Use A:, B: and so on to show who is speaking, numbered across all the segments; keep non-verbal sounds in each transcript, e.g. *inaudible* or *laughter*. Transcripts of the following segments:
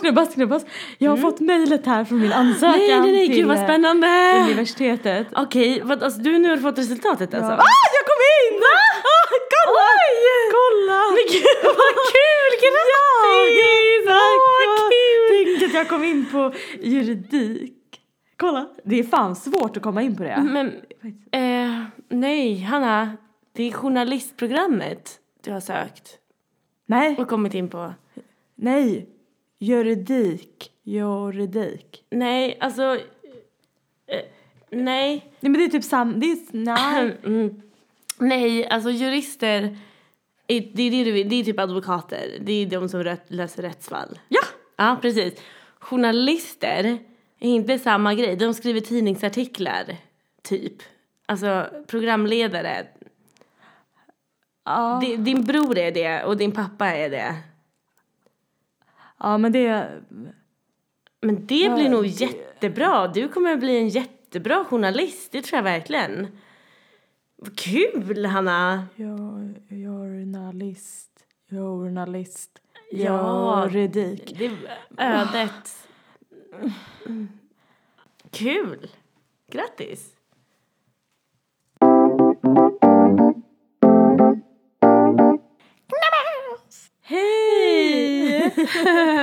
A: knubbas, knubbas. Jag har fått mejlet här från min ansökan
B: Mm. Nej, nej, nej, gud
A: till
B: vad
A: eh,
B: spännande!
A: universitetet.
B: Okej, vad, alltså, du nu har fått resultatet alltså?
A: Ah, jag kom in! Ah, kolla! Kolla!
B: Men gud vad kul! Grattis! Ja,
A: Åh,
B: vad kul!
A: Tänk att jag kom in på juridik. Kolla, det är fan svårt att komma in på det.
B: Men, eh, nej Hanna, det är journalistprogrammet du har sökt
A: Nej,
B: och kommit in på.
A: nej. Juridik, juridik.
B: Nej, alltså, eh, nej.
A: Nej men det är typ sam... Det är, nej.
B: Mm. Nej, alltså jurister, är- det är, det, du- det är typ advokater. Det är de som rät- löser rättsfall.
A: *laughs* Ja!
B: Ja, precis. Journalister är inte samma grej. De skriver tidningsartiklar, typ. Alltså, programledare.
A: Ja.
B: Di- Din bror är det och din pappa är det.
A: ja men det...
B: Men det blir nog jättebra. Du kommer bli en jättebra journalist, det tror jag verkligen. Vad kul, Hanna!
A: Jo- Journalist, journalist,
B: Ja.
A: juridik.
B: Det ödet. Kul! Grattis! Hej!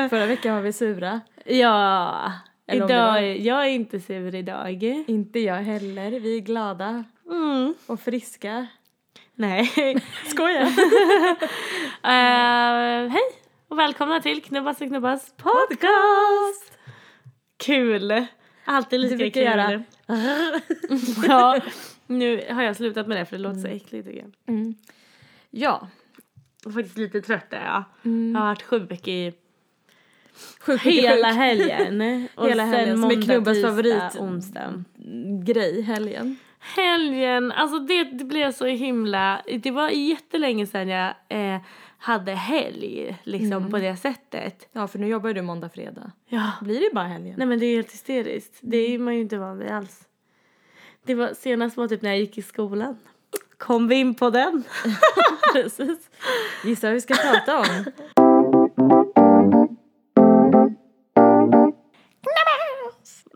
A: Förra veckan var vi sura.
B: Ja,
A: Eller om det
B: idag, jag är inte sur idag.
A: Inte jag heller. Vi är glada och friska.
B: Nej. *laughs*
A: Skojar!
B: Eh, hej och välkomna till Knubbas och Knubbas podcast! Kul! Alltid lika
A: Du brukar
B: kul. *laughs*
A: göra.
B: ja, nu har jag slutat med det för det låter så äckligt tycker jag.
A: Mm. Ja,
B: Jag är faktiskt lite trött är jag.
A: Mm.
B: Jag har varit sjuk i
A: sjuk,
B: hela
A: sjuk.
B: helgen. *laughs* Och
A: Hela
B: sen
A: helgen, som är
B: måndag,
A: Knubbas
B: tisdag,
A: favorit. mm,
B: onsdag.
A: grej helgen.
B: Helgen, alltså det, det blev så himla... Det var jättelänge sedan jag eh, hade helg liksom
A: Mm.
B: på det sättet.
A: Ja, för nu jobbar ju du måndag, fredag.
B: Ja.
A: Blir det bara helgen?
B: Nej men det är helt hysteriskt. Det är man ju inte van vid alls. Det var, senast var typ när jag gick i skolan. Kom vi in på
A: *laughs*
B: den?
A: Precis. Gissa vad vi ska prata om?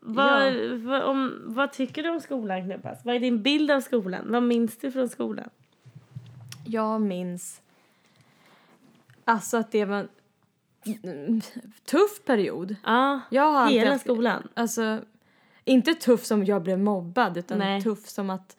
B: Vad, vad, om, vad tycker du om skolan Knubbas? Vad är din bild av skolan? Vad minns du från skolan?
A: *laughs* Jag minns alltså att det var en mm, tuff period.
B: Ja,
A: Jag har alltid
B: hela
A: haft-
B: skolan.
A: Alltså, inte tuff som jag blev mobbad utan
B: Nej.
A: tuff som att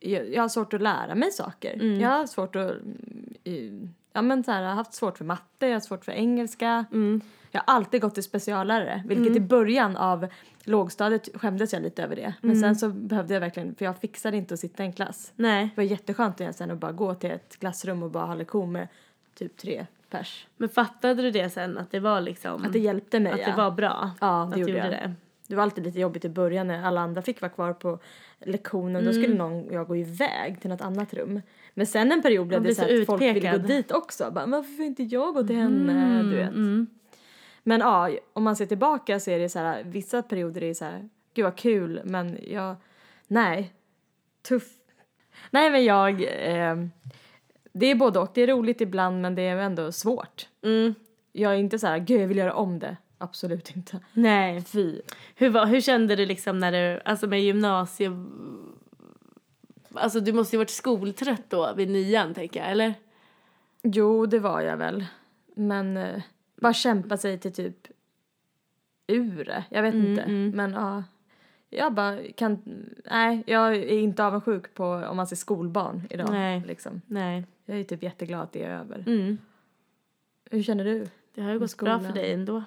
A: jag, jag har svårt att lära mig saker. Jag har svårt att, mm, i- ja men så här, jag har haft svårt för matte, jag har svårt för engelska.
B: Mm.
A: Jag har alltid gått till speciallärare, vilket i början av lågstadiet skämdes jag lite över det. Men
B: Mm.
A: sen så behövde jag verkligen, för jag fixade inte att sitta i en klass.
B: Nej.
A: Det var jätteskönt igen sen att bara gå till ett klassrum och bara ha lektion med typ tre pers.
B: Men fattade du det sen att det var liksom...
A: Att det hjälpte mig
B: att det
A: ja.
B: var bra?
A: Ja,
B: att
A: det
B: du
A: gjorde jag.
B: det.
A: Det var alltid lite jobbigt i början när alla andra fick vara kvar på lektionen. Då skulle någon, jag gå iväg till något annat rum. Men sen en period blev
B: Man
A: det
B: blir
A: så,
B: så
A: att folk ville gå
B: utpekad.
A: dit också. Bara, varför får inte jag gå till henne? Du vet. Men ja, om man ser tillbaka så är det så här, vissa perioder är så här, gud vad kul, men jag, nej, tuff. Nej men jag, eh, det är både och, det är roligt ibland men det är ändå svårt.
B: Mm.
A: Jag är inte så här, gud jag vill göra om det, absolut inte.
B: Nej.
A: Fy.
B: Hur, var, hur kände du liksom när du, alltså med gymnasiet? Alltså du måste ju varit skoltrött då vid nian tänker jag, eller?
A: Jo, det var jag väl. Men eh, bara kämpa sig till typ ur det. Jag vet inte. Men ja. jag bara kan... Nej, jag är inte avundsjuk på om man ser skolbarn idag.
B: Nej.
A: Liksom.
B: Nej.
A: Jag är typ jätteglad att det är över.
B: Mm.
A: Hur känner du?
B: Det har ju gått
A: skolan.
B: bra för dig ändå.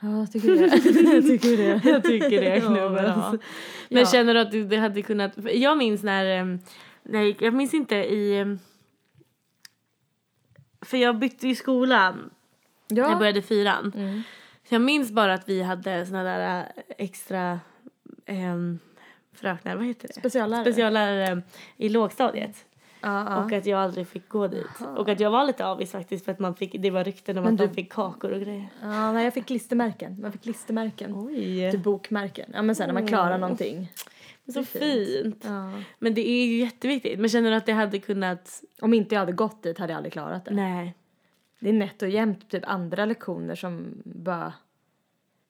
A: Ja, jag tycker det. *laughs* jag tycker det.
B: Jag tycker det,
A: Ja,
B: Knubbas.
A: men,
B: Ja,
A: ja.
B: Men
A: Ja.
B: känner du att du det hade kunnat... för Jag minns när... ehm, när jag, gick- jag minns inte i... ehm, För jag bytte ju skolan när jag
A: Ja.
B: började fyran.
A: Mm.
B: Så jag minns bara att vi hade såna där eh, extra ehm, fröknar, vad heter det?
A: Speciallärare.
B: Speciallärare eh, i lågstadiet.
A: Ja, ja.
B: Och att jag aldrig fick gå dit. Och att jag var lite avis faktiskt för att man fick, det var rykten om
A: Men
B: att
A: du-
B: de fick kakor och grejer.
A: ja, nej, jag fick klistermärken. Man fick klistermärken.
B: Oj!
A: Typ bokmärken. Ja, men sen när man klarar någonting.
B: så
A: fint.
B: fint.
A: Ja.
B: Men det är ju jätteviktigt. Men känner du att det hade kunnat...
A: Om inte jag hade gått dit hade jag aldrig klarat det.
B: Nej.
A: det är nätt och jämnt typ andra lektioner som bara...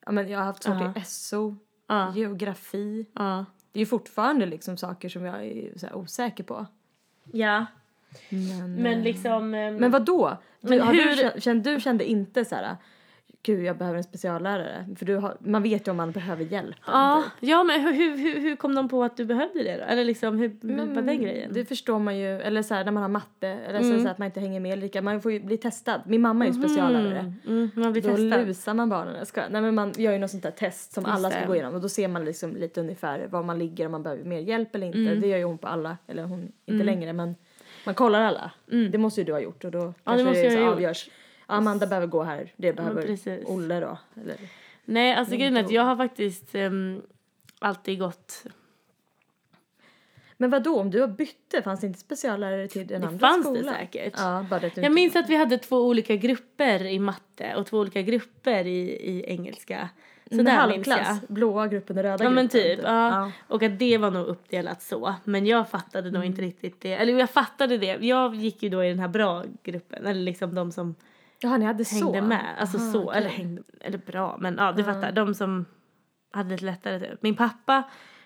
A: Ja, men jag har haft saker i SO,
B: Ja.
A: geografi.
B: Ja.
A: Det är ju fortfarande liksom saker som jag är så här osäker på.
B: ja.
A: Men,
B: Men liksom... ehm,
A: Mm. men vad då?
B: Men
A: Du, har
B: hur-
A: du, kä- känn- du kände inte så här, gud jag behöver en speciallärare. För du har, man vet ju om man behöver hjälp.
B: Ja, ja men hur, hur, hur, hur kom de på att du behövde det då? Eller liksom, hur,
A: Mm.
B: hur var den grejen?
A: Det förstår man ju, eller så här, när man har matte, eller så,
B: Mm.
A: så här att man inte hänger med lika. Man får ju bli testad. Min mamma är ju speciallärare.
B: Mm, mm, man blir
A: Då
B: testad.
A: lusar man barnen. Jag skojar. Nej men man gör ju något sånt där test som
B: Just
A: alla ska
B: det.
A: gå igenom och då ser man liksom lite ungefär var man ligger om man behöver mer hjälp eller inte.
B: Mm.
A: Det gör ju hon på alla, eller hon inte
B: Mm.
A: längre men man kollar alla.
B: Mm.
A: Det måste ju du ha gjort och då
B: måste jag
A: så
B: ha gjort.
A: avgörs. Amanda behöver gå här, det behöver
B: precis.
A: Olle då. Eller,
B: Nej, alltså
A: Men
B: grejen är att
A: då-
B: jag har faktiskt ehm, alltid gått...
A: men vad då om du har bytte, fanns det inte speciallärare till den
B: Det
A: andra
B: fanns
A: skolan?
B: det säkert.
A: Ja, bara det att du
B: Jag
A: inte-
B: minns att vi hade två olika grupper i matte och två olika grupper i, i engelska. Så
A: Men
B: där minns jag.
A: halvklass, blåa gruppen och röda
B: Ja
A: gruppen.
B: men typ. Ja. Och att det var nog uppdelat så. Men jag fattade
A: Mm.
B: nog inte riktigt det. Eller jag fattade det. Jag gick ju då i den här bra gruppen. Eller liksom de som
A: Jaha, ni hade så?
B: hängde med. Alltså
A: Aha,
B: så.
A: okej.
B: Eller hängde, eller bra. Men ja du fattar. De som hade lite lättare typ. Min pappa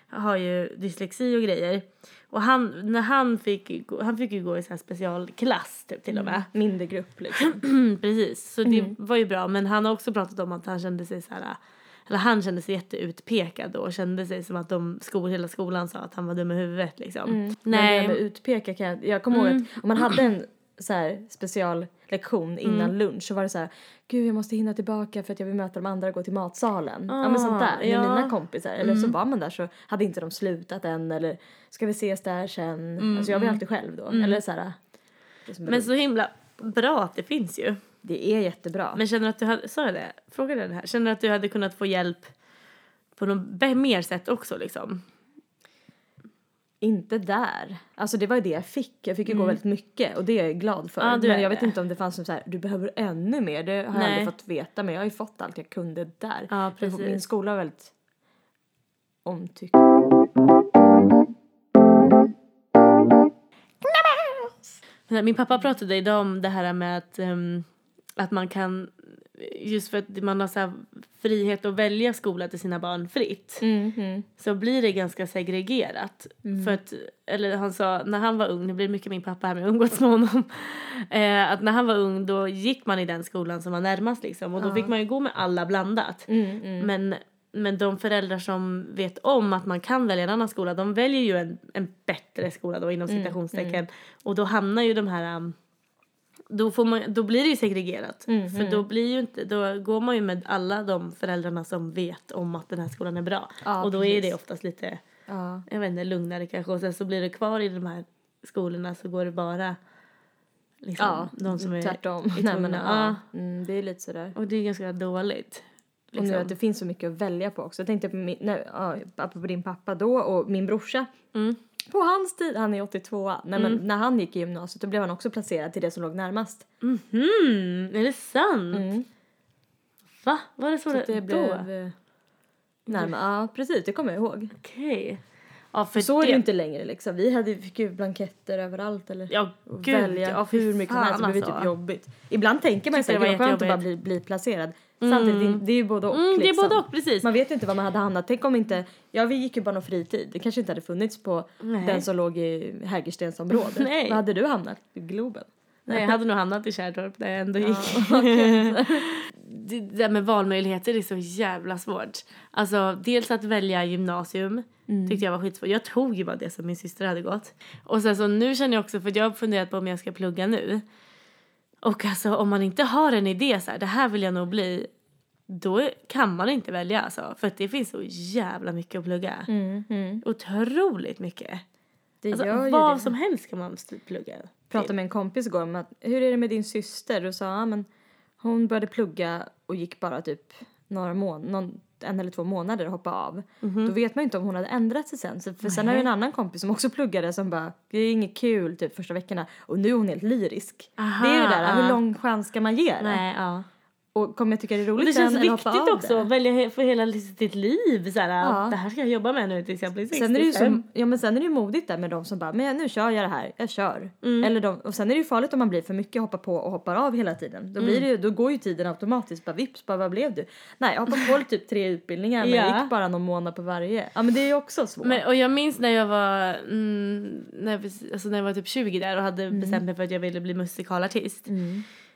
B: har ju dyslexi och grejer. Och han, när han fick, gå- han fick ju gå i så här specialklass typ till och
A: Mm.
B: med.
A: Mindre grupp liksom.
B: Mm, *clears throat* precis, så det var ju bra. Men han har också pratat om att han kände sig så här... Eller han kände sig jätteutpekad då och kände sig som att de skol, hela skolan sa att han var dum i huvudet liksom.
A: Nej.
B: Nej. Mm.
A: Men det där med utpeka kan jag, jag kommer ihåg att om man hade en så här speciallektion innan
B: Mm.
A: lunch så var det så här gud jag måste hinna tillbaka för att jag vill möta de andra och gå till matsalen. ja men sånt där med
B: Ah, ja. Mm.
A: mina kompisar. Eller så var man där så hade inte de slutat än eller ska vi ses där sen. Alltså jag var ju alltid själv då. Eller så här, det, är som
B: Mm, Men så himla bra att det finns ju.
A: det är jättebra.
B: Men känner du att du hade, sa jag det? Frågade jag det här? Känner du att du hade kunnat få hjälp på något be- mer sätt också liksom?
A: Inte där. Alltså det var ju det jag fick. Jag fick ju gå väldigt mycket och det är jag glad för.
B: Mm. Ja, du
A: men
B: är
A: jag
B: det.
A: vet inte om det fanns som så här, du behöver ännu mer. Det har jag
B: Nej.
A: aldrig fått veta men jag har ju fått allt jag kunde där.
B: Ja,
A: För
B: precis.
A: Min skola var väldigt omtyckt.
B: Men Min pappa pratade idag om det här med att, ehm, att man kan... Just för att man har så här frihet att välja skola till sina barn fritt. så blir det ganska segregerat. För att, eller han sa, när han var ung, nu blir det mycket min pappa här men jag umgås med honom. *laughs* Eh, att när han var ung då gick man i den skolan som var närmast liksom och då fick man ju gå med alla blandat.
A: Mm.
B: Men, men de föräldrar som vet om att man kan välja en annan skola de väljer ju en, en bättre skola då inom
A: Mm,
B: citationstecken. Och då hamnar ju de här um, då, får man, då blir det ju segregerat.
A: Mm,
B: för Då, blir ju inte, då går man ju med alla de föräldrarna som vet om att den här skolan är bra.
A: Ja,
B: och då är
A: precis.
B: det oftast lite
A: Ja.
B: jag vet inte, lugnare kanske. Och sen så blir det kvar i de här skolorna så går det bara liksom,
A: ja,
B: de som är
A: Mm, tvärtom.
B: är
A: *laughs* Nej, men,
B: tvungna.
A: ja. Mm, det är lite sådär.
B: Och det är ganska dåligt.
A: Och nu
B: Liksom.
A: att det finns så mycket att välja på också. Jag tänkte på, min, nej, ja, apropå din pappa då och min brorsa.
B: Mm.
A: På hans tid, han är 82, nej, men när han gick i gymnasiet då blev han också placerad till det som låg närmast.
B: Mm, är det sant?
A: Mm.
B: Va? Var det så,
A: Så att
B: det
A: det
B: då?
A: blev... eh, Närmast, ja precis det kommer jag ihåg.
B: Okej. Ja, för
A: Så är
B: det...
A: det ju inte längre liksom. Vi hade, fick ju blanketter överallt eller
B: Ja,
A: och
B: gud.
A: välja
B: ja, fy
A: hur mycket som
B: fan,
A: helst. Det blev ju typ
B: alltså.
A: jobbigt. Ibland tänker man ju
B: Tyckte det
A: såhär, gud vad
B: var
A: skönt att bara bli, bli placerad. Samtidigt, det är ju både och
B: Mm, det är
A: liksom.
B: både och, precis.
A: Man vet ju inte vad man hade hamnat. Tänk om inte, ja vi gick ju bara någon fritid. Det kanske inte hade funnits på
B: Nej.
A: den som låg i
B: *laughs*
A: Hägerstensområdet.
B: Nej.
A: Vad hade du hamnat? I Globen?
B: Nej, jag hade nog hamnat i Kärrtorp där jag ändå gick. *laughs*
A: *laughs*
B: det det där med valmöjligheter är så jävla svårt. Alltså, dels att välja gymnasium
A: Mm.
B: tyckte jag var skitsvårt. Jag tog ju bara det som min syster hade gått. Och sen så nu känner jag också, för jag har funderat på om jag ska plugga nu. Och alltså om man inte har en idé så här, det här vill jag nog bli. Då är- kan man inte välja alltså. För att det finns så jävla mycket att plugga. mm. Otroligt mycket.
A: Mm. Det
B: Alltså,
A: gör ju
B: vad
A: det.
B: som helst kan man st- plugga.
A: pratade med en kompis igår om att hur är det med din syster? Och sa ja men hon började plugga och gick bara typ några mån någon, en eller två månader och hoppade av.
B: Mhm.
A: Då vet man ju inte om hon hade ändrat sig sen. Så- För sen har jag en annan kompis som också pluggade som bara det är inget kul typ första veckorna och nu är hon helt lyrisk.
B: Aha,
A: det är ju det där, hur
B: ja.
A: lång chans ska man ge det?
B: Nej, ja.
A: Och kommer jag tycka det är roligt
B: det känns
A: sen eller hoppa
B: viktigt
A: av
B: också att
A: det?
B: välja he- för hela ditt liv. Så här, "Ah,
A: Ja.
B: Det här ska jag jobba med nu tills jag blir 65.
A: Sen är, det ju som, ja, men sen är det ju modigt där med de som bara, men nu kör jag det här, jag kör.
B: Mm.
A: Eller de, och sen är det ju farligt om man blir för mycket hoppar på och hoppar av hela tiden. Då, blir
B: Mm.
A: det, ju- då går ju tiden automatiskt, bara vips, bara vad blev du? Nej, jag
B: *laughs*
A: hoppade på typ tre utbildningar men
B: Ja.
A: gick bara någon månad på varje. Ja men det är ju också svårt.
B: Men, och jag minns när jag var, mm, när, jag, precis- alltså när jag var typ 20 där och hade bestämt mig för att jag ville bli musikalartist.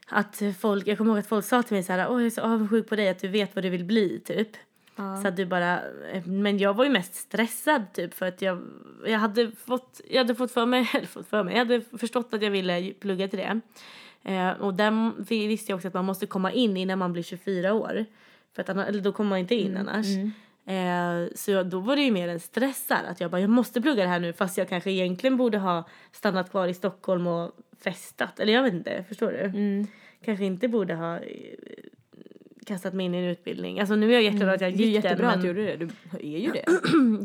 B: Att folk, jag kommer ihåg att folk sa till mig så här, åh jag är så avundsjuk på dig att du vet vad du vill bli typ.
A: Ja.
B: Så att du bara, men jag var ju mest stressad typ för att jag, jag hade fått, jag hade fått för mig, *laughs* eller fått för mig, jag hade förstått att jag ville ju plugga till det. Eh, och där vi- visste jag också att man måste komma in innan man blir 24 år. För att annars, eller då kommer man inte in annars. Eh, så jag, då var det ju mer en stress här, att jag bara, jag måste plugga det här nu fast jag kanske egentligen borde ha stannat kvar i Stockholm och festat. Eller jag vet inte, förstår du?
A: Mm.
B: Kanske inte borde ha eh, kastat mig in i en utbildning. Alltså nu är jag jätteglad att jag
A: Mm. det är ju
B: gick
A: jättebra
B: den. men-
A: att du gjorde det, du är ju det.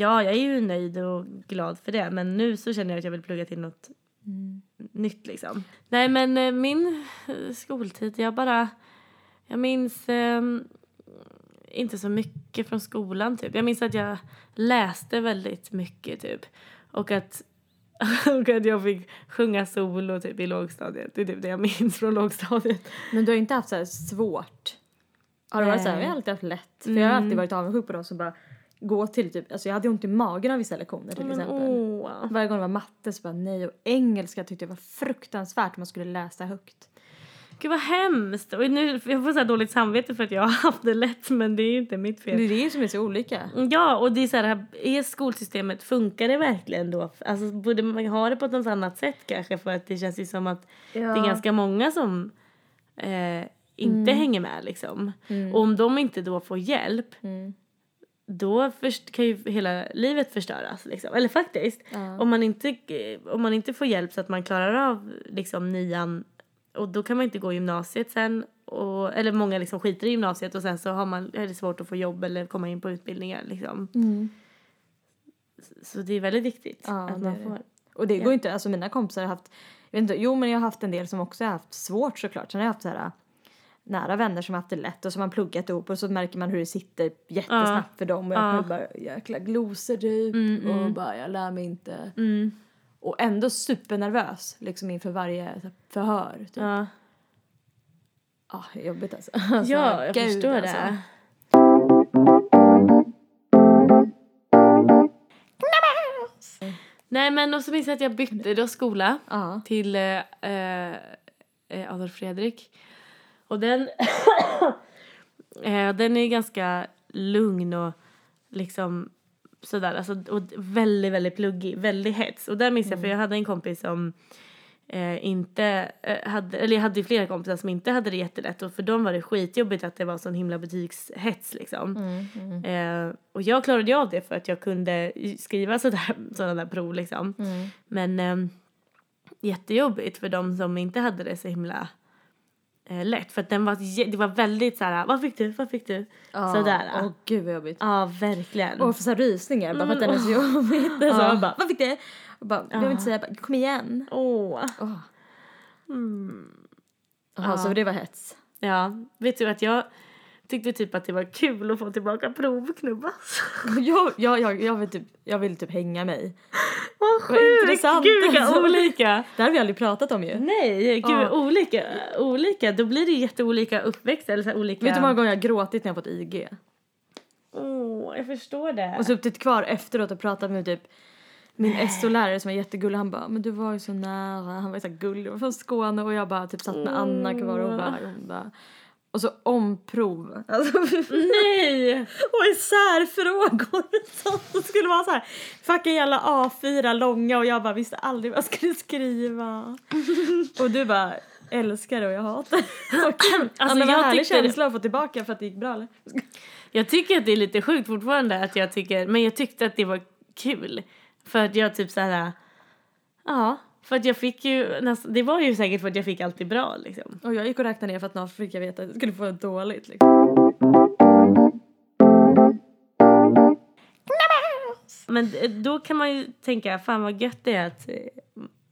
B: Ja, jag är ju nöjd och glad för det. Men nu så känner jag att jag vill plugga till något nytt liksom. Mm. Nej, men eh, min eh, skoltid, jag bara... Jag minns eh, inte så mycket från skolan typ. Jag minns att jag läste väldigt mycket typ. Och att, *laughs* och att jag fick sjunga solo typ i lågstadiet. Det är typ det jag minns från lågstadiet.
A: Men du har inte haft så här svårt? Har du varit så här,
B: Nej. Mm.
A: jag har alltid haft lätt. För jag har alltid varit avundsjuk på de som bara går till typ, alltså jag hade ju ont i magen av vissa lektioner till
B: Men
A: exempel.
B: åh.
A: Varje gång det var matte så bara nej och engelska tyckte jag var fruktansvärt man skulle läsa högt.
B: Gud vad hemskt. Och nu, jag får så här dåligt samvete för att jag har haft det lätt men det är ju inte mitt fel.
A: Men det är det som är så olika.
B: Ja, och det är så här, är skolsystemet, funkar det verkligen då? Alltså borde man ha det på något annat sätt kanske? För att det känns ju som att det är ganska många som eh, inte hänger med liksom. Och om de inte då får hjälp
A: Mm.
B: då först kan ju hela livet förstöras liksom. Eller faktiskt, om, man inte, eh, om man inte får hjälp så att man klarar av liksom nian och då kan man inte gå gymnasiet sen. Och, eller många liksom skiter i gymnasiet och sen så har man, är det svårt att få jobb eller komma in på utbildningar. Liksom.
A: Mm.
B: Så det är väldigt viktigt
A: Ja,
B: att
A: det
B: man
A: är det.
B: får. typ.
A: Och det går inte, alltså mina kompisar har haft, jag vet inte, jo men jag har haft en del som också har haft svårt såklart. Sen har jag haft så här nära vänner som har haft det lätt och som har pluggat ihop och så märker man hur det sitter jättesnabbt för dem och jag
B: Ja. Mm,
A: uh. bara jäkla glosor typ och bara jag lär mig inte. Och ändå supernervös liksom inför varje så här, förhör. Typ.
B: Ja,
A: Ah, jobbigt alltså. *laughs* alltså
B: ja jag
A: gud,
B: förstår
A: alltså.
B: det. Nej men och så minns jag att jag bytte då skola.
A: Ja.
B: till eh, eh, eh, Adolf Fredrik. Och den, *coughs* eh, den är ganska lugn och liksom sådär. Alltså, och väldigt, väldigt pluggig, väldigt hets. Och där minns jag, för jag hade en kompis som eh, inte eh, hade, eller jag hade ju flera kompisar som inte hade det jättelätt och för dem var det skitjobbigt att det var sån himla betygshets liksom. Eh, och jag klarade ju av det för att jag kunde skriva sådär, sådana där prov liksom. Men ehm, jättejobbigt för de som inte hade det så himla eh, lätt. För att den var, jä- det var väldigt så här, vad fick du, vad fick du?
A: Ja,
B: Sådär. Mm.
A: Åh gud vad jobbigt.
B: Ja, verkligen.
A: Och får så här rysningar bara för att den är så jobbig. Så jag bara, vad fick det? Och bara, jag vill inte säga, jag bara, kom igen.
B: Åh.
A: Jaha, så det var hets. *laughs*
B: Ja, vet du att jag tyckte typ att det var kul att få tillbaka provknubbas.
A: Jag, jag, jag, jag, vill typ, jag vill typ hänga mig.
B: Vad
A: *laughs* Vad
B: sjukt!
A: intressant,
B: Gud vilka
A: alltså.
B: olika!
A: Det här har vi aldrig pratat om ju.
B: Mm. Nej, gud
A: Ja.
B: olika, olika. Då blir det jätteolika uppväxter. Eller så här olika...
A: Vet du hur många gånger jag har gråtit när jag fått IG?
B: Åh, jag förstår det.
A: Och suttit kvar efteråt och pratat med typ min SO-lärare som var jättegullig. Han bara, men du var ju så nära. Han var ju så här gullig och från Skåne. Och jag bara typ satt med Anna kvar och bara, hon bara. Och så omprov. Alltså,
B: Nej!
A: Och isärfrågor sånt som skulle vara *laughs* så här fucking jävla A4 långa och jag bara visste aldrig vad jag skulle *laughs* skriva. och du bara älskar det och jag hatar det. Så kul.
B: Alltså,
A: *clears throat* Alltså, ja,
B: jag
A: jag härlig
B: tyckte det-
A: känsla att få tillbaka för att det gick bra eller?
B: Jag tycker att det är lite sjukt fortfarande att jag tycker, men jag tyckte att det var kul. För att jag typ så här, ja, för att jag fick ju nästan, det var ju säkert för att jag fick alltid bra liksom.
A: Och jag gick och räknade ner för att snart fick jag veta att jag skulle få det dåligt liksom.
B: Men d- då kan man ju tänka, fan vad gött det är att eh,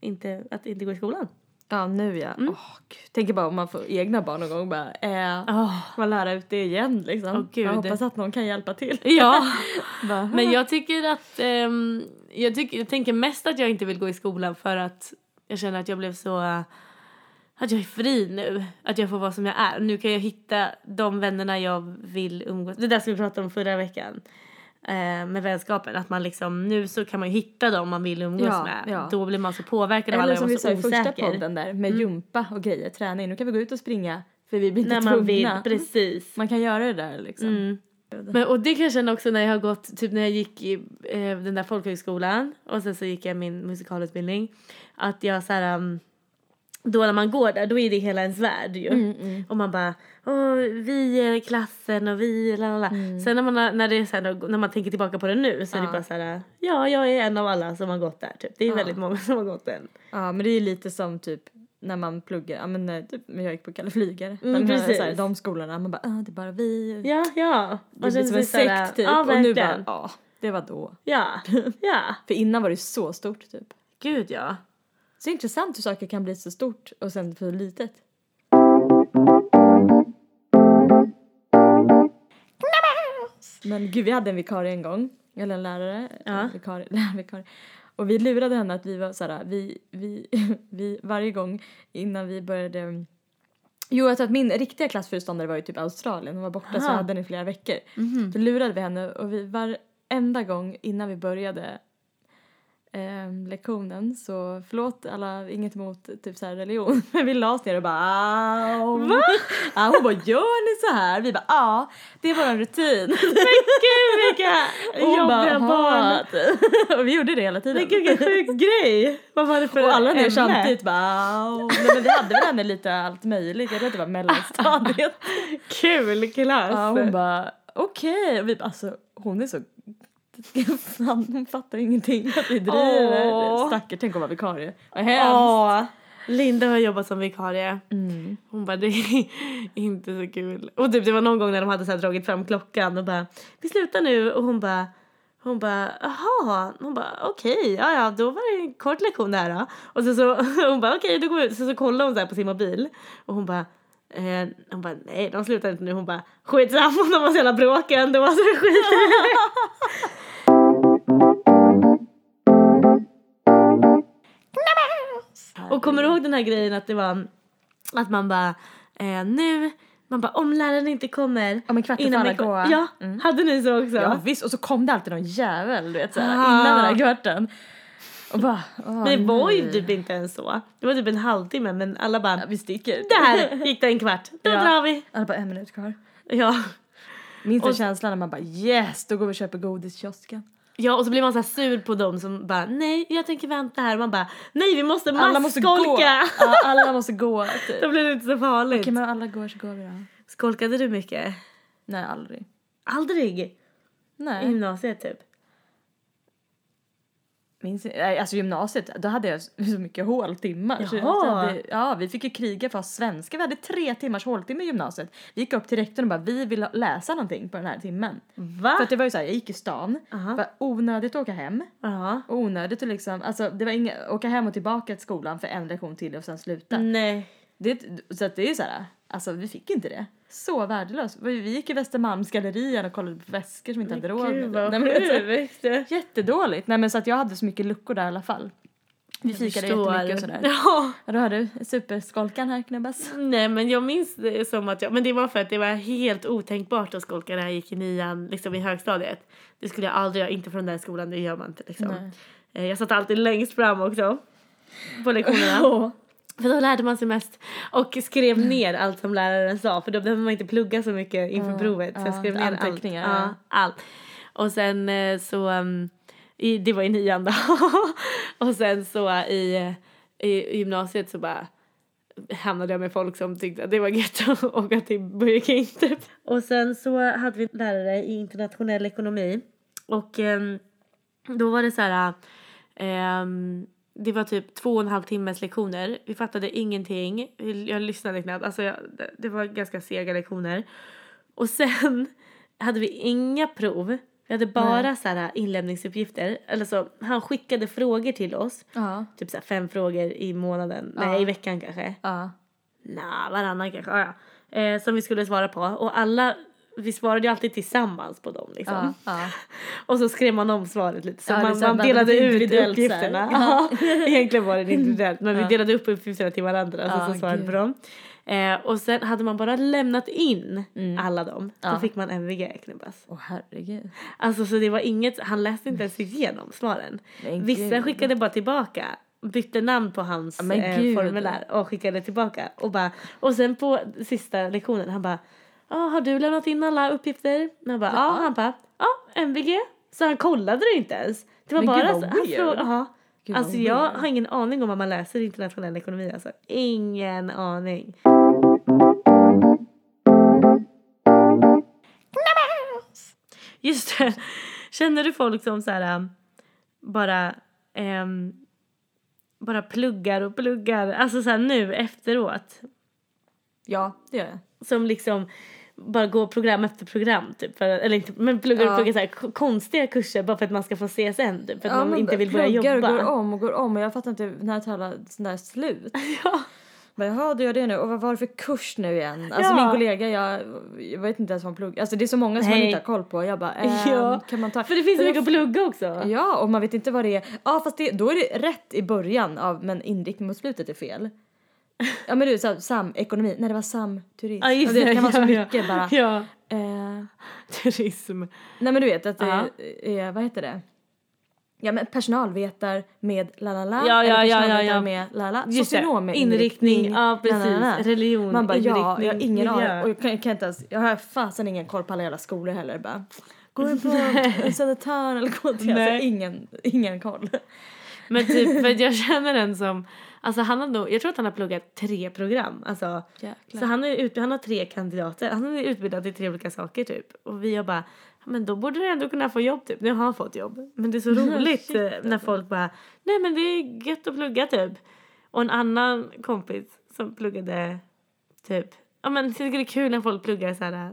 B: inte, att inte gå i skolan.
A: Ja, nu ja. Åh, gud. Tänker bara om man får egna barn någon gång. Bara, eh,
B: Åh.
A: man lära ut det igen liksom.
B: Åh, gud.
A: Jag hoppas att någon kan hjälpa till. *laughs*
B: Ja,
A: Bara,
B: men jag tycker att... ehm, jag, tycker, jag tänker mest att jag inte vill gå i skolan för att jag känner att jag blev så... eh, Att jag är fri nu, att jag får vara som jag är. Nu kan jag hitta de vännerna jag vill umgås Det där som vi pratade om förra veckan. eh, Med vänskapen, att man liksom nu så kan man ju hitta dem man vill umgås
A: Ja,
B: med.
A: ja.
B: Då blir man så påverkad av alla,
A: Eller
B: jag
A: som
B: var
A: vi sa
B: så
A: i första
B: osäker. Mm.
A: podden där med jumpa och grejer, träning. Nu kan vi gå ut och springa för vi blir inte
B: När
A: tvungna.
B: man vill, precis.
A: Man kan göra det där liksom.
B: Mm. Men, och det kan jag känna också när jag har gått, typ när jag gick i eh, den där folkhögskolan och sen så gick jag min musikalutbildning. Att jag så här, um, då när man går där då är det hela ens värld ju.
A: Mm,
B: Och man bara, åh vi är klassen och vi, la la la. Sen när man, har- när, det är så här, när man tänker tillbaka på det nu så är det
A: Mm. Ja.
B: bara så här, ja jag är en av alla som har gått där typ. Det är
A: Ja.
B: väldigt många som har gått den.
A: Ja, men det är ju lite som typ när man pluggar, ja men eh, typ när jag gick på Kalle Flygare.
B: Mm,
A: de, här,
B: precis.
A: så här, de skolorna, man bara ah, det är bara vi.
B: Ja, ja.
A: Det blir som en sekt typ.
B: Ja,
A: och nu
B: verkligen.
A: bara, ja det var då.
B: Ja,
A: *laughs*
B: ja.
A: För innan var det så stort typ.
B: Gud ja.
A: Så intressant hur saker kan bli så stort och sen så litet. Men gud, vi hade en vikarie en gång, eller en lärare,
B: Ja.
A: en vikarie, *laughs* lärarvikarie. Och vi lurade henne att vi var såhär, vi, vi, *laughs* vi, varje gång innan vi började Jo, jag tror att min riktiga klassföreståndare var ju typ Australien. Hon var borta
B: Aha.
A: så
B: Mhm.
A: jag hade den i flera veckor. Då lurade vi henne och vi varenda gång innan vi började ehm, lektionen så förlåt alla, inget emot typ så här religion. *laughs* Men vi la oss ner och bara "Au." ja, Hon bara gör ni så här? Vi bara ja, det är våran rutin. *laughs*
B: Gud vilka
A: Och hon bara,
B: jobbiga
A: "Jaha."
B: barn.
A: *laughs* och vi gjorde det hela tiden.
B: Vilken vilken sjuk grej. Vad var det för
A: Och alla ner
B: ämne?
A: samtidigt bara "Au." Nej, men vi hade väl henne lite allt möjligt. Jag tror att det var mellanstadiet. Alltså.
B: Kul klass.
A: *laughs* Ja, hon bara okej. Och vi bara alltså hon är så Fan, hon fattar ju ingenting att vi driver.
B: Åh.
A: Stackare, tänk att vara vikarie. Vad
B: Åh, Linda har jobbat som vikarie.
A: Mm.
B: Hon bara, det är *laughs* inte så kul. Och typ, det var någon gång när de hade så här dragit fram klockan och bara, vi slutar nu. Och hon bara, hon bara, jaha. Hon bara, okej, ja ja, då var det en kort lektion det här då. Och så, *laughs* så hon bara, okej, då går vi ut. Så, så kollar hon så här på sin mobil och hon bara, Eh, hon bara, nej de slutar inte nu. Hon bara, skitsamma de var så jävla bråkiga ändå. *laughs* Så jag skiter i det." Och kommer du ihåg den här grejen att det var att man bara eh, nu, man bara om läraren inte Mm. kommer
A: Ja, men kvart i alla
B: den kom-
A: går. Mm.
B: Ja, hade ni så också?
A: Ja visst, och så kom det alltid någon jävel du vet såhär,
B: Ah.
A: innan den här kvarten. Och bara,
B: Men
A: åh,
B: det var ju
A: nej.
B: typ inte ens så. Det var typ en halvtimme men alla bara
A: Ja, vi sticker.
B: där gick det en kvart, då
A: Ja.
B: drar vi.
A: Alla bara en minut kvar.
B: Ja.
A: Minns du
B: Och-
A: känslan när man bara yes, då går vi och köper godis i kiosken.
B: ja, och så blir man så här sur på dem som bara nej jag tänker vänta här. Man bara nej vi måste
A: Alla måste gå.
B: masskolka.
A: Ja, alla måste gå. Typ.
B: *laughs* Då blir det inte så farligt.
A: Okej men alla går så går vi då.
B: Skolkade du mycket?
A: Nej aldrig.
B: Aldrig? I
A: Nej.
B: gymnasiet typ?
A: Minns, nej, alltså gymnasiet, då hade jag så mycket håltimmar. Så jag
B: Jaha.
A: hade, ja, vi fick ju kriga för att ha svenska. Vi hade tre timmars håltimme i gymnasiet. Vi gick upp till rektorn och bara, vi vill ha- läsa någonting på den här timmen.
B: Va?
A: För att det var ju såhär, jag gick i stan.
B: Aha.
A: Var onödigt att åka hem.
B: Ja.
A: Och onödigt att liksom, alltså det var inga, åka hem och tillbaka till skolan för en lektion till och sen sluta.
B: Nej.
A: Det, så att det är ju såhär, alltså vi fick inte det. Så värdelöst. Vi vi gick i Västermalmsgallerian och kollade på väskor som inte hade råd
B: Gud
A: det.
B: vad
A: Nej, men det är så här,
B: sjukt.
A: Jättedåligt. Nej men så att jag hade så mycket luckor där i alla fall. Vi fikade jättemycket och sådär.
B: Ja.
A: Ja, då har du superskolkan här knubbas.
B: Nej men jag minns det som att jag, men det var för att det var helt otänkbart att skolka när jag gick i nian, liksom i högstadiet. Det skulle jag aldrig göra, inte från den skolan, det gör man inte liksom.
A: Nej.
B: Eh, Jag satt alltid längst fram också. På lektionerna. För då lärde man sig mest. Och skrev
A: Mm.
B: ner allt som läraren sa. För då behöver man inte plugga så mycket inför
A: Ja,
B: provet. Så jag
A: ja,
B: skrev ner allt.
A: anteckningar,
B: Ja,
A: ja.
B: allt. Och sen eh, så... um, I, det var i nian då. *laughs* och sen så eh, i, i gymnasiet så bara hamnade jag med folk som tyckte att det var gött *laughs* att åka till Burger King typ. Och sen så hade vi en lärare i internationell ekonomi. Och ehm, då var det så här... ehm, det var typ två och en halv timmes lektioner. Vi fattade ingenting. Jag lyssnade knappt. Alltså jag, det- *laughs* det var ganska sega lektioner. Och sen hade vi inga prov. Vi hade bara så här inlämningsuppgifter. Eller så, han skickade frågor till oss.
C: Ja.
B: Typ så här fem frågor i månaden.
C: Ja.
B: Nej, i veckan kanske.
C: Ja.
B: Nja, varannan kanske. Ja, ja. Eh, som vi skulle svara på. Och alla, vi svarade ju alltid tillsammans på dem liksom.
C: Ja. ja.
B: Och så skrev man om svaret lite. Så
C: Ja, det är
B: man,
C: så här,
B: man
C: man-
B: delade
C: det är
B: ut
C: individuellt så här.
B: uppgifterna. Ja. *laughs* Egentligen var det individuellt men vi
C: Ja.
B: delade upp uppgifterna till varandra och så,
C: Ja,
B: så svarade vi
C: gud.
B: på dem. Eh, och sen hade man bara lämnat in alla dem, då
C: Mm. Ja.
B: fick man MVG knubbas.
C: Åh herregud.
B: Alltså så det var inget, han läste inte ens igenom svaren.
C: Men
B: Vissa
C: gud.
B: skickade bara tillbaka, bytte namn på hans
C: Ja, men
B: eh,
C: gud.
B: formulär och skickade tillbaka. Och, bara, och sen på sista lektionen han bara, ja har du lämnat in alla uppgifter? Och jag bara, ja. Han bara, ja MVG. Så han kollade det inte ens. Det var
C: Men
B: bara
C: gud, vad
B: så, han
C: weird.
B: frågade, ja.
C: Gud, vad
B: Alltså jag
C: weird.
B: har ingen aning om vad man läser i internationell ekonomi alltså. Ingen aning. Just det. Känner du folk som så här, ähm, bara, ehm, bara pluggar och pluggar, alltså så här nu efteråt?
C: Ja, det gör jag.
B: Som liksom bara går program efter program typ. För, eller inte, men pluggar och
C: Ja.
B: pluggar så här, k- konstiga kurser bara för att man ska få se sen typ. För att man
A: men
B: inte vill börja
A: pluggar
B: jobba.
A: och går om och går om och jag fattar inte när tar alla sådana här slut.
B: *laughs* Ja.
A: Bara, Jaha, du gör det nu. Och vad var det för kurs nu igen? Alltså
B: Ja.
A: min kollega, jag, jag vet inte ens vad hon pluggar. Alltså det är så många som man
B: Nej.
A: inte har koll på. Jag bara,
B: *laughs*
A: ehm,
B: Ja.
A: kan man ta?
B: För det finns så
A: jag
B: mycket att plugga också.
A: Ja, och man vet inte vad det är. Ja, fast det, då är det rätt i början av, men inriktning mot slutet
B: *laughs*
A: är fel. Ja, men du, så, här, sam, ekonomi. Nej, det var samturism.
B: Ja, just
A: Och det kan vara
B: *laughs*
A: så
B: Ja, ja.
A: mycket bara.
B: Ja.
A: Eh,
B: Turism.
A: nej, men du vet att det
B: Ja.
A: är, vad heter det? Ja, men personalvetar med la la la.
B: Ja, ja,
A: eller
B: ja, ja,
A: personalvetar
B: ja.
A: med la la.
B: Just det.
A: Socionom med
B: Inriktning, ja,
A: la, la, la.
B: precis. Religion,
A: Man bara, ja, jag har
B: inriktning,
A: ingen
B: miljö.
A: aning. Och jag kan, jag kan inte ens, jag har fasen ingen koll på alla jävla skolor heller. Bara, går du på Södertörn eller går till,
B: Nej.
A: alltså ingen, ingen koll.
B: *laughs* Men typ, för att jag känner en som... Alltså han har nog, jag tror att han har pluggat tre program. Alltså,
A: Jäklar.
B: så han, är ut, han har tre kandidater. Han är utbildad i tre olika saker typ. Och vi har bara, men då borde du ändå kunna få jobb typ. Nu har han fått jobb. Men det
A: *laughs*
B: är så roligt
A: Shit, alltså.
B: eh, när folk bara, nej men det är gött att plugga typ. Och en annan kompis som pluggade typ, ja men jag tycker det är kul när folk pluggar så här eh,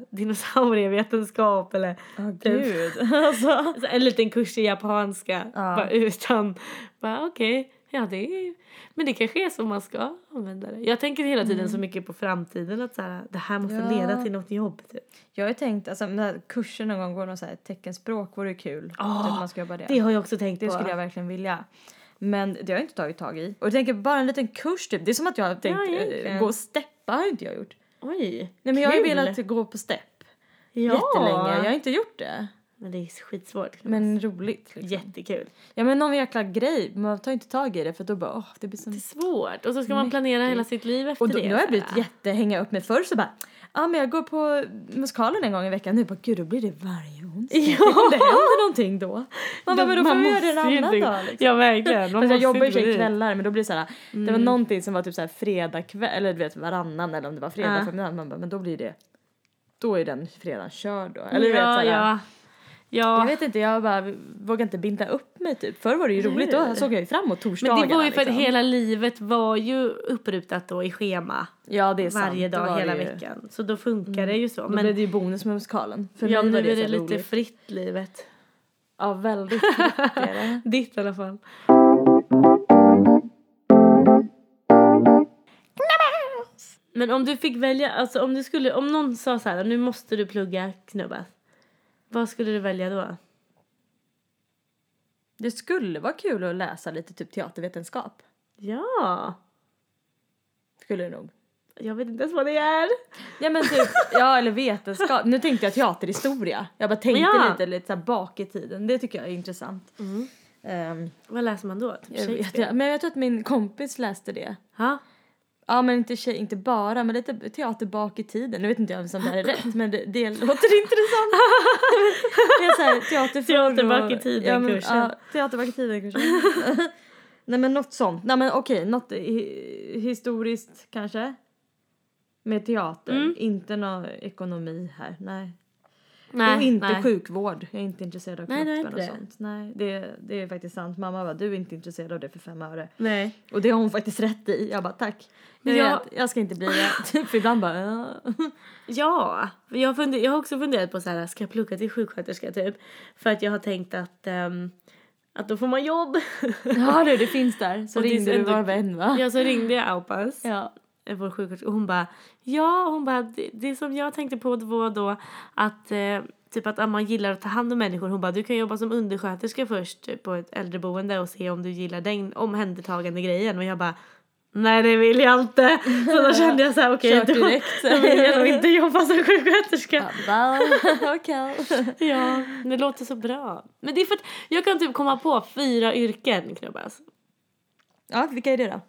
B: dinosaurievetenskap eller
A: Åh
B: typ.
A: gud. *laughs* Alltså.
B: Så en liten kurs i japanska.
A: Ja.
B: Bara utan... Bara okej. Ja, det är, men det kanske är så man ska använda det. Jag tänker hela tiden så mycket på framtiden. Att så här, det här måste
A: Mm. Ja.
B: leda till något jobb. Typ.
A: Jag har ju tänkt, alltså när kurser någon gång går någon så här teckenspråk vore ju kul.
B: Ja,
A: Typ man ska jobba det.
B: Det
A: det.
B: har jag också tänkt på.
A: skulle jag verkligen vilja. Men det har jag inte tagit tag i. Och jag tänker bara en liten kurs typ. Det är som att jag har tänkt
B: egentligen.
A: eh, gå och steppa har ju inte jag gjort.
B: Oj,
A: Nej men jag har ju
B: kul.
A: velat gå på stepp
B: ja.
A: jättelänge. Jag har inte gjort det.
B: Men det är skitsvårt.
A: Men roligt liksom.
B: Jättekul.
A: Ja men någon jäkla grej. Man tar ju inte tag i det för då bara åh det blir som...
B: Det är svårt. Och så ska man planera hela sitt liv efter
A: Och då,
B: det.
A: nu har jag
B: så
A: blivit
B: här.
A: jättehänga upp med förr så bara Ja men jag går på musikalen en gång i veckan nu bara gud då blir det varje onsdag. *laughs* Tänk om det händer någonting då. Man bara men då får vi göra det en
B: ju
A: annan
B: inte-
A: dag liksom.
B: Ja, verkligen. Man
A: Fast jag
B: måste
A: jobbar ju i och
B: inte
A: för sig
B: bli- Mm.
A: kvällar men då blir det såhär, det var någonting som var typ såhär fredag kväll eller du vet varannan eller om det var fredag
B: Ja.
A: förmiddag man bara men då blir det, då är den fredagen körd då. Eller du vet
B: Ja,
A: såhär,
B: ja.
A: jag
B: Ja,
A: vet inte jag bara vågar inte binda upp mig typ. Förr var det ju roligt då såg jag ju fram emot
B: Men
A: torsdagarna
B: det var ju för att
A: liksom.
B: hela livet var ju upprutat då i schema.
A: Ja det är sant.
B: varje
A: då
B: dag
A: var
B: hela
A: det ju-
B: veckan. Så då funkar det ju så.
A: Då blev
B: Men
A: det ju bonus med musikalen. För
B: ja, nu
A: mig var
B: är
A: det,
B: det
A: så här
B: lite
A: roligt.
B: fritt livet.
A: *laughs* Ja, *laughs* väldigt fritt är det.
B: Ditt i alla fall. Men om du fick välja, alltså om du skulle, om någon sa så här, nu måste du plugga knubba. Vad skulle du välja då?
A: Det skulle vara kul att läsa lite typ teatervetenskap.
B: Ja,
A: Skulle det nog.
B: jag vet inte ens vad det är.
A: Ja men typ, ja eller vetenskap. Nu tänkte jag teaterhistoria. Jag bara tänkte
B: Ja.
A: lite, lite så här bak i tiden. Det tycker jag är intressant. Ehm,
B: Vad läser man då? Typ
A: jag vet,
B: Shakespeare?
A: jag, men jag tror att min kompis läste det.
B: Ja.
A: Ja men inte, tjej, inte bara, men lite teater bak i tiden. Nu vet inte jag om sånt där är rätt men det, det låter *laughs* intressant. det är så här, teater förr och-
B: Teater bak i tiden
A: ja, men,
B: kursen.
A: Ja, teater bak i
B: *laughs*
A: tiden kursen. Nej men något sånt. Nej men okej, något hi- historiskt kanske. Med teater,
B: Mm.
A: inte någon ekonomi här. Nej. och inte sjukvård. Jag är inte intresserad av
B: Nej, det är
A: kroppen och
B: inte det.
A: sånt. Nej, det, det är faktiskt sant. Mamma bara, du är inte intresserad av det för fem öre.
B: Nej.
A: Och det har hon faktiskt rätt i. Jag bara, tack.
B: Men
A: Jag,
B: jag-
A: jag... Vet, jag ska inte bli *laughs* det. typ ibland bara, ja.
B: Ja, för jag, funde, jag har också funderat på så här, ska jag plugga till sjuksköterska typ? För att jag har tänkt att, ehm, att då får man jobb.
A: Ja du, det finns där. Så
B: Och det är så
A: ringde du
B: ändå-
A: var vän va?
B: *laughs* ja, så ringde jag Aupas,
A: Ja.
B: eh, vår sjuksköterska, och hon bara, ja, hon bara, det, det som jag tänkte på var då att eh, typ att om man gillar att ta hand om människor, hon bara, du kan jobba som undersköterska först på ett äldreboende och se om du gillar den omhändertagande grejen. Och jag bara, nej det vill jag inte. Så då kände jag så här, okej,
A: *laughs* Kört
B: då,
A: direkt.
B: då vill jag nog inte jobba som sjuksköterska.
A: *laughs* Okej.
B: Ja, det låter så bra. Men det är för att jag kan typ komma på fyra yrken, knubbas.
A: Ja, vilka är det då?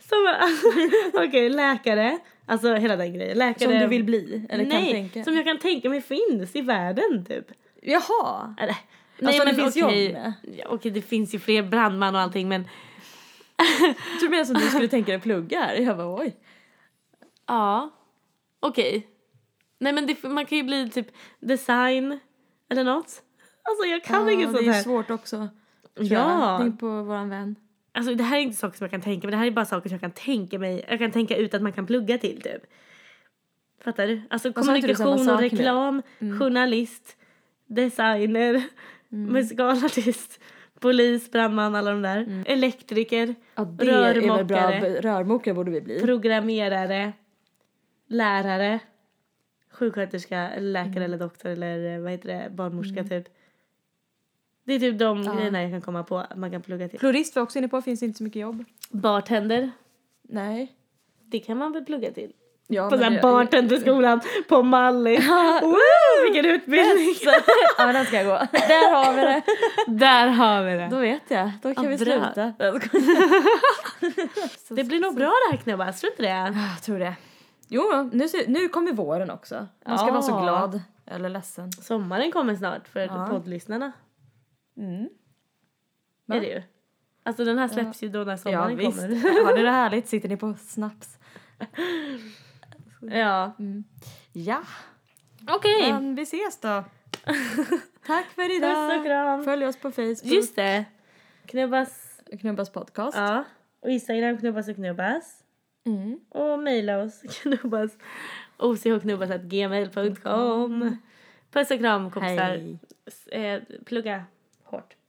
B: Som- *laughs* Okej, läkare. Alltså hela den grejen. Läkare.
A: Som du vill bli? Eller
B: Nej,
A: kan tänka?
B: som jag kan tänka mig finns i världen typ.
A: Jaha!
B: Eller,
A: det finns
B: okej.
A: jobb med.
B: Ja, okej, det finns Alltså, ju fler brandman och allting men
A: Jag tror mer som du skulle tänka dig plugga. Jag bara, oj.
B: ja, okej. Nej men det, man kan ju bli typ design eller något. Alltså jag kan inget sånt
A: det är
B: här.
A: svårt också. tror
B: Ja.
A: jag. Tänk på våran vän.
B: Alltså det här är inte saker som jag kan tänka mig. Det här är bara saker som jag kan tänka mig. Jag kan tänka ut att man kan plugga till typ. Fattar du? Alltså
A: Och sa inte du typ samma
B: kommunikation och
A: sak nu?
B: reklam,
A: Mm.
B: journalist, designer, *laughs* musikalartist, polis, brandman, alla de där. Elektriker,
A: Mm. Ja, det är väl bra.
B: rörmokare,
A: B- Rörmokare borde vi bli.
B: programmerare, lärare, sjuksköterska, eller
A: Mm.
B: läkare eller doktor eller eh, vad heter det, barnmorska typ. Det är typ de grejerna jag kan komma på att man kan plugga till.
A: Florist var jag också inne på, finns inte så mycket jobb.
B: Bartender.
A: Nej.
B: Det kan man väl plugga till? På
A: Ja, men
B: sån
A: det-
B: här bartenderskolan på Malli. Woo, vilken
A: *laughs*
B: utbildning!
A: *laughs* Ja, men den ska jag gå. Där har vi det.
B: Där har vi det.
A: Då vet jag. Då kan
B: Ja,
A: vi
B: bra.
A: sluta.
B: Det blir nog bra det här knubbas, tror du inte det?
A: Ah, Jag tror det. Jo, nu, ser- nu kommer våren också. Man ska
B: Ja.
A: vara så glad. Eller ledsen.
B: Sommaren kommer snart för
A: Ja.
B: poddlyssnarna.
A: Mm.
B: Är det ju. Alltså den här släpps ju då när
A: Ja,
B: sommaren
A: visst.
B: kommer.
A: *laughs* Har ni det härligt? Sitter ni på snaps?
B: *laughs* Ja.
A: Ja.
B: Okej.
A: Men vi
B: *laughs*
A: ses då. Tack för idag.
B: Puss och kram.
A: Följ oss på Facebook.
B: Just det. Knubbas.
A: Knubbas podcast.
B: Ja. Och Instagram knubbas och knubbas.
A: Mm.
B: Och mejla oss *laughs* knubbas. ochknubbas.gmail.com Puss och kram kompisar.
A: Mm. Hej.
B: S- eh, Plugga hårt.